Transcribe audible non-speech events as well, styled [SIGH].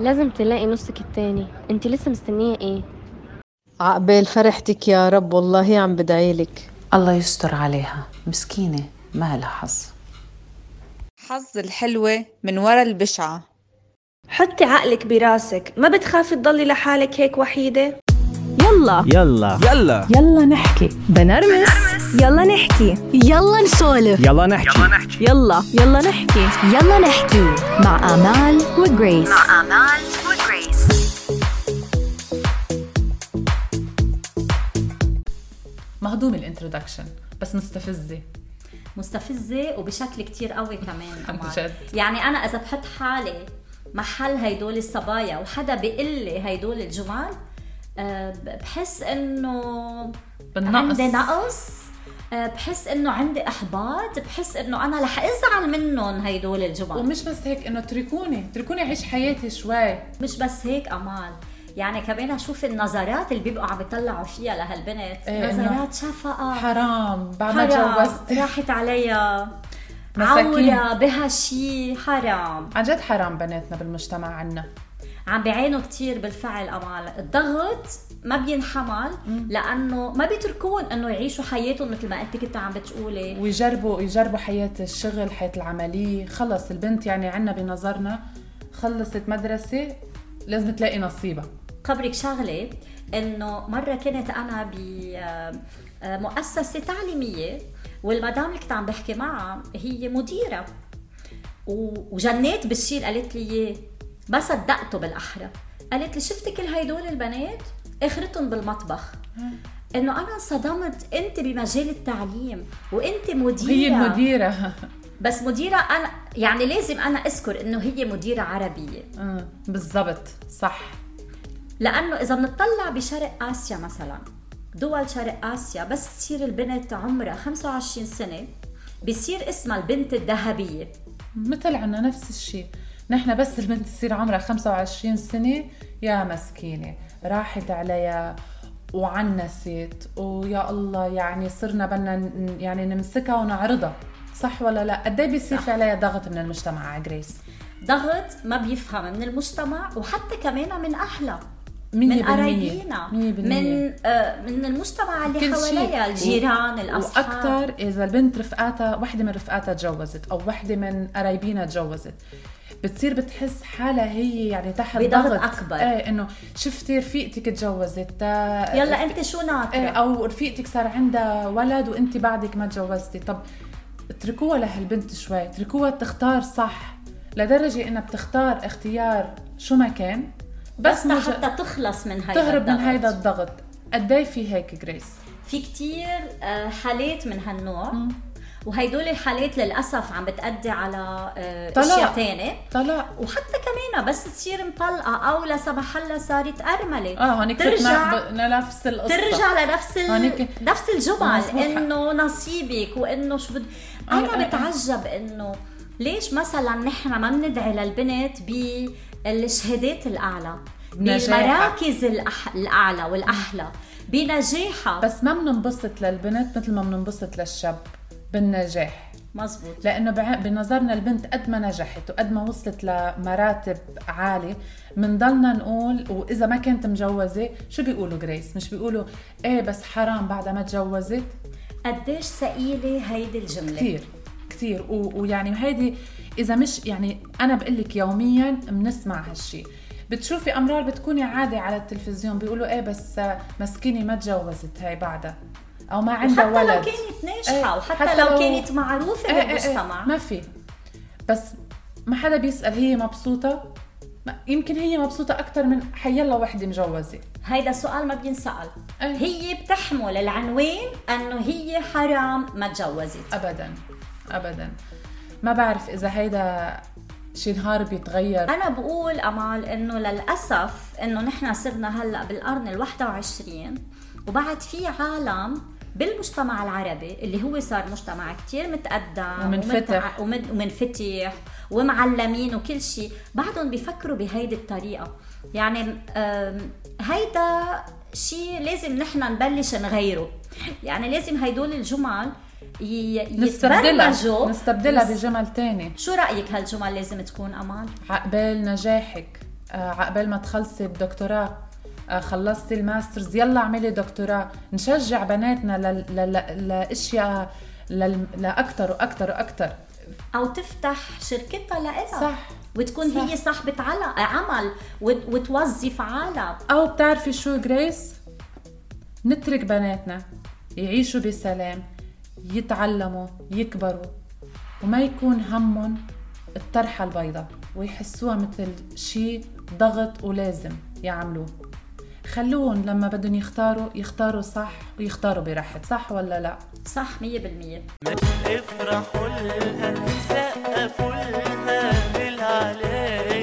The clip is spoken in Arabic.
لازم تلاقي نصك التاني انت لسه مستنية ايه عقبال فرحتك يا رب والله عم بدعيلك الله يستر عليها مسكينة ما لها حظ حظ الحلوة من ورا البشعة حطي عقلك براسك ما بتخافي تضلي لحالك هيك وحيدة يلا يلا يلا يلا نحكي بنرمس يلا نحكي يلا نسولف يلا نحكي يلا يلا نحكي يلا نحكي مع آمال وجريس مع آمال مهضوم الانترودكشن بس مستفزة مستفزة وبشكل كتير قوي كمان [LAUGHS] عن كمان. جد. يعني أنا إذا بحط حالي محل هيدول الصبايا وحدا بيقول لي هيدول الجمال آه، ب- بحس إنه بالنقص عندي نقص آه، بحس انه عندي احباط بحس انه انا رح ازعل منهم هيدول الجمل ومش بس هيك انه اتركوني اتركوني اعيش حياتي شوي مش بس هيك امال يعني كمان اشوف النظرات اللي بيبقوا عم يطلعوا فيها لهالبنت إيه، إنه نظرات شفقه حرام بعد ما آه. حرام تجوزت راحت عليا مساكين. عورة بها شيء حرام عن جد حرام بناتنا بالمجتمع عنا عم بيعانوا كتير بالفعل امال الضغط ما بينحمل لانه ما بيتركون انه يعيشوا حياتهم مثل ما انت كنت عم بتقولي ويجربوا يجربوا حياة الشغل حياة العملية خلص البنت يعني عنا بنظرنا خلصت مدرسة لازم تلاقي نصيبها خبرك شغله انه مره كنت انا ب آه، مؤسسه تعليميه والمدام اللي كنت عم بحكي معها هي مديره و- وجنيت بالشيء اللي قالت لي اياه ما صدقته بالاحرى قالت لي شفتي كل هيدول البنات اخرتهم بالمطبخ انه انا انصدمت انت بمجال التعليم وانت مديره هي المديرة [LAUGHS] بس مديره انا يعني لازم انا اذكر انه هي مديره عربيه آه، بالضبط صح لانه اذا بنطلع بشرق اسيا مثلا دول شرق اسيا بس تصير البنت عمرها 25 سنه بصير اسمها البنت الذهبيه مثل عنا نفس الشيء نحن بس البنت تصير عمرها 25 سنة يا مسكينة راحت عليها وعنست ويا الله يعني صرنا بدنا ن- يعني نمسكها ونعرضها صح ولا لا؟ قد ايه بيصير في عليها ضغط من المجتمع على جريس؟ ضغط ما بيفهم من المجتمع وحتى كمان من اهلها 100% من قرايبينا من آه من المجتمع اللي كل شيء. حواليها الجيران الاصحاب واكثر اذا البنت رفقاتها وحده من رفقاتها تجوزت او وحده من قرايبينها تجوزت بتصير بتحس حالها هي يعني تحت بضغط ضغط أكبر. ايه انه شفتي رفيقتك تجوزت تا- يلا إيه. انت شو ناطره ايه او رفيقتك صار عندها ولد وانت بعدك ما تجوزتي طب اتركوها لهالبنت شوي اتركوها تختار صح لدرجه انها بتختار اختيار شو ما كان بس, بس بس حتى تخلص من هيدا تهرب من الضغط. هيدا الضغط قد ايه في هيك جريس في كتير آه، حالات من هالنوع وهيدول الحالات للأسف عم بتأدي على آه، طلاق. أشياء تانية طلع وحتى كمان بس تصير مطلقة أو لا سمح الله صارت أرملة اه هنيك ترجع- ترجع نفس القصه ترجع لنفس ال... هونيك نفس الجمل مسموح. انه نصيبك وانه شو بد... آه، انا آه، آه. بتعجب انه ليش مثلا نحن ما بندعي للبنت بالشهادات الاعلى بنجاحها. بالمراكز الأح... الاعلى والاحلى بنجاحها بس ما بننبسط للبنت مثل ما بننبسط للشاب بالنجاح مزبوط لانه بع- بنظرنا البنت قد ما نجحت وقد ما وصلت لمراتب عاليه بنضلنا نقول واذا ما كانت مجوزه شو بيقولوا جريس مش بيقولوا ايه بس حرام بعد ما تجوزت قديش ثقيله هيدي الجمله كثير كثير و... ويعني هيدي اذا مش يعني انا بقول لك يوميا بنسمع هالشي بتشوفي امرار بتكوني عادي على التلفزيون بيقولوا ايه بس مسكينه ما تجوزت هي بعدها او ما عندها حتى ولد لو كانت ناجحه إيه، وحتى حتى لو لو- كانت معروفه إيه إيه إيه، بالمجتمع ما في بس ما حدا بيسال هي مبسوطه ما- يمكن هي مبسوطه اكثر من حيلا وحده مجوزه هيدا سؤال ما بينسال إيه. هي بتحمل العنوان انه هي حرام ما تجوزت ابدا ابدا ما بعرف اذا هيدا شي نهار بيتغير انا بقول امال انه للاسف انه نحن صرنا هلا بالقرن ال21 وبعد في عالم بالمجتمع العربي اللي هو صار مجتمع كتير متقدم ومنفتح. ومتع- ومن- ومنفتح ومعلمين وكل شيء بعدهم بيفكروا بهيدي الطريقه يعني أم، هيدا شيء لازم نحن نبلش نغيره يعني لازم هيدول الجمل ي- نستبدلها يتبرمجوا نستبدلها بجمل تاني شو رايك هالجمل لازم تكون امال عقبال نجاحك آه، عقبال ما تخلصي الدكتوراه آه، خلصتي الماسترز يلا اعملي دكتوراه نشجع بناتنا لل- لل- لاشياء لل- لاكثر واكثر واكثر او تفتح شركتها لإلها صح. وتكون صح. صح. هي صاحبة عل- عمل وت- وتوظف عالم او بتعرفي شو جريس نترك بناتنا يعيشوا بسلام يتعلموا يكبروا وما يكون همهم الطرحة البيضاء ويحسوها مثل شيء ضغط ولازم يعملوه خلوهم لما بدهم يختاروا يختاروا صح ويختاروا براحة صح ولا لا صح مية بالمية افرحوا لها سقفوا لها بالعلام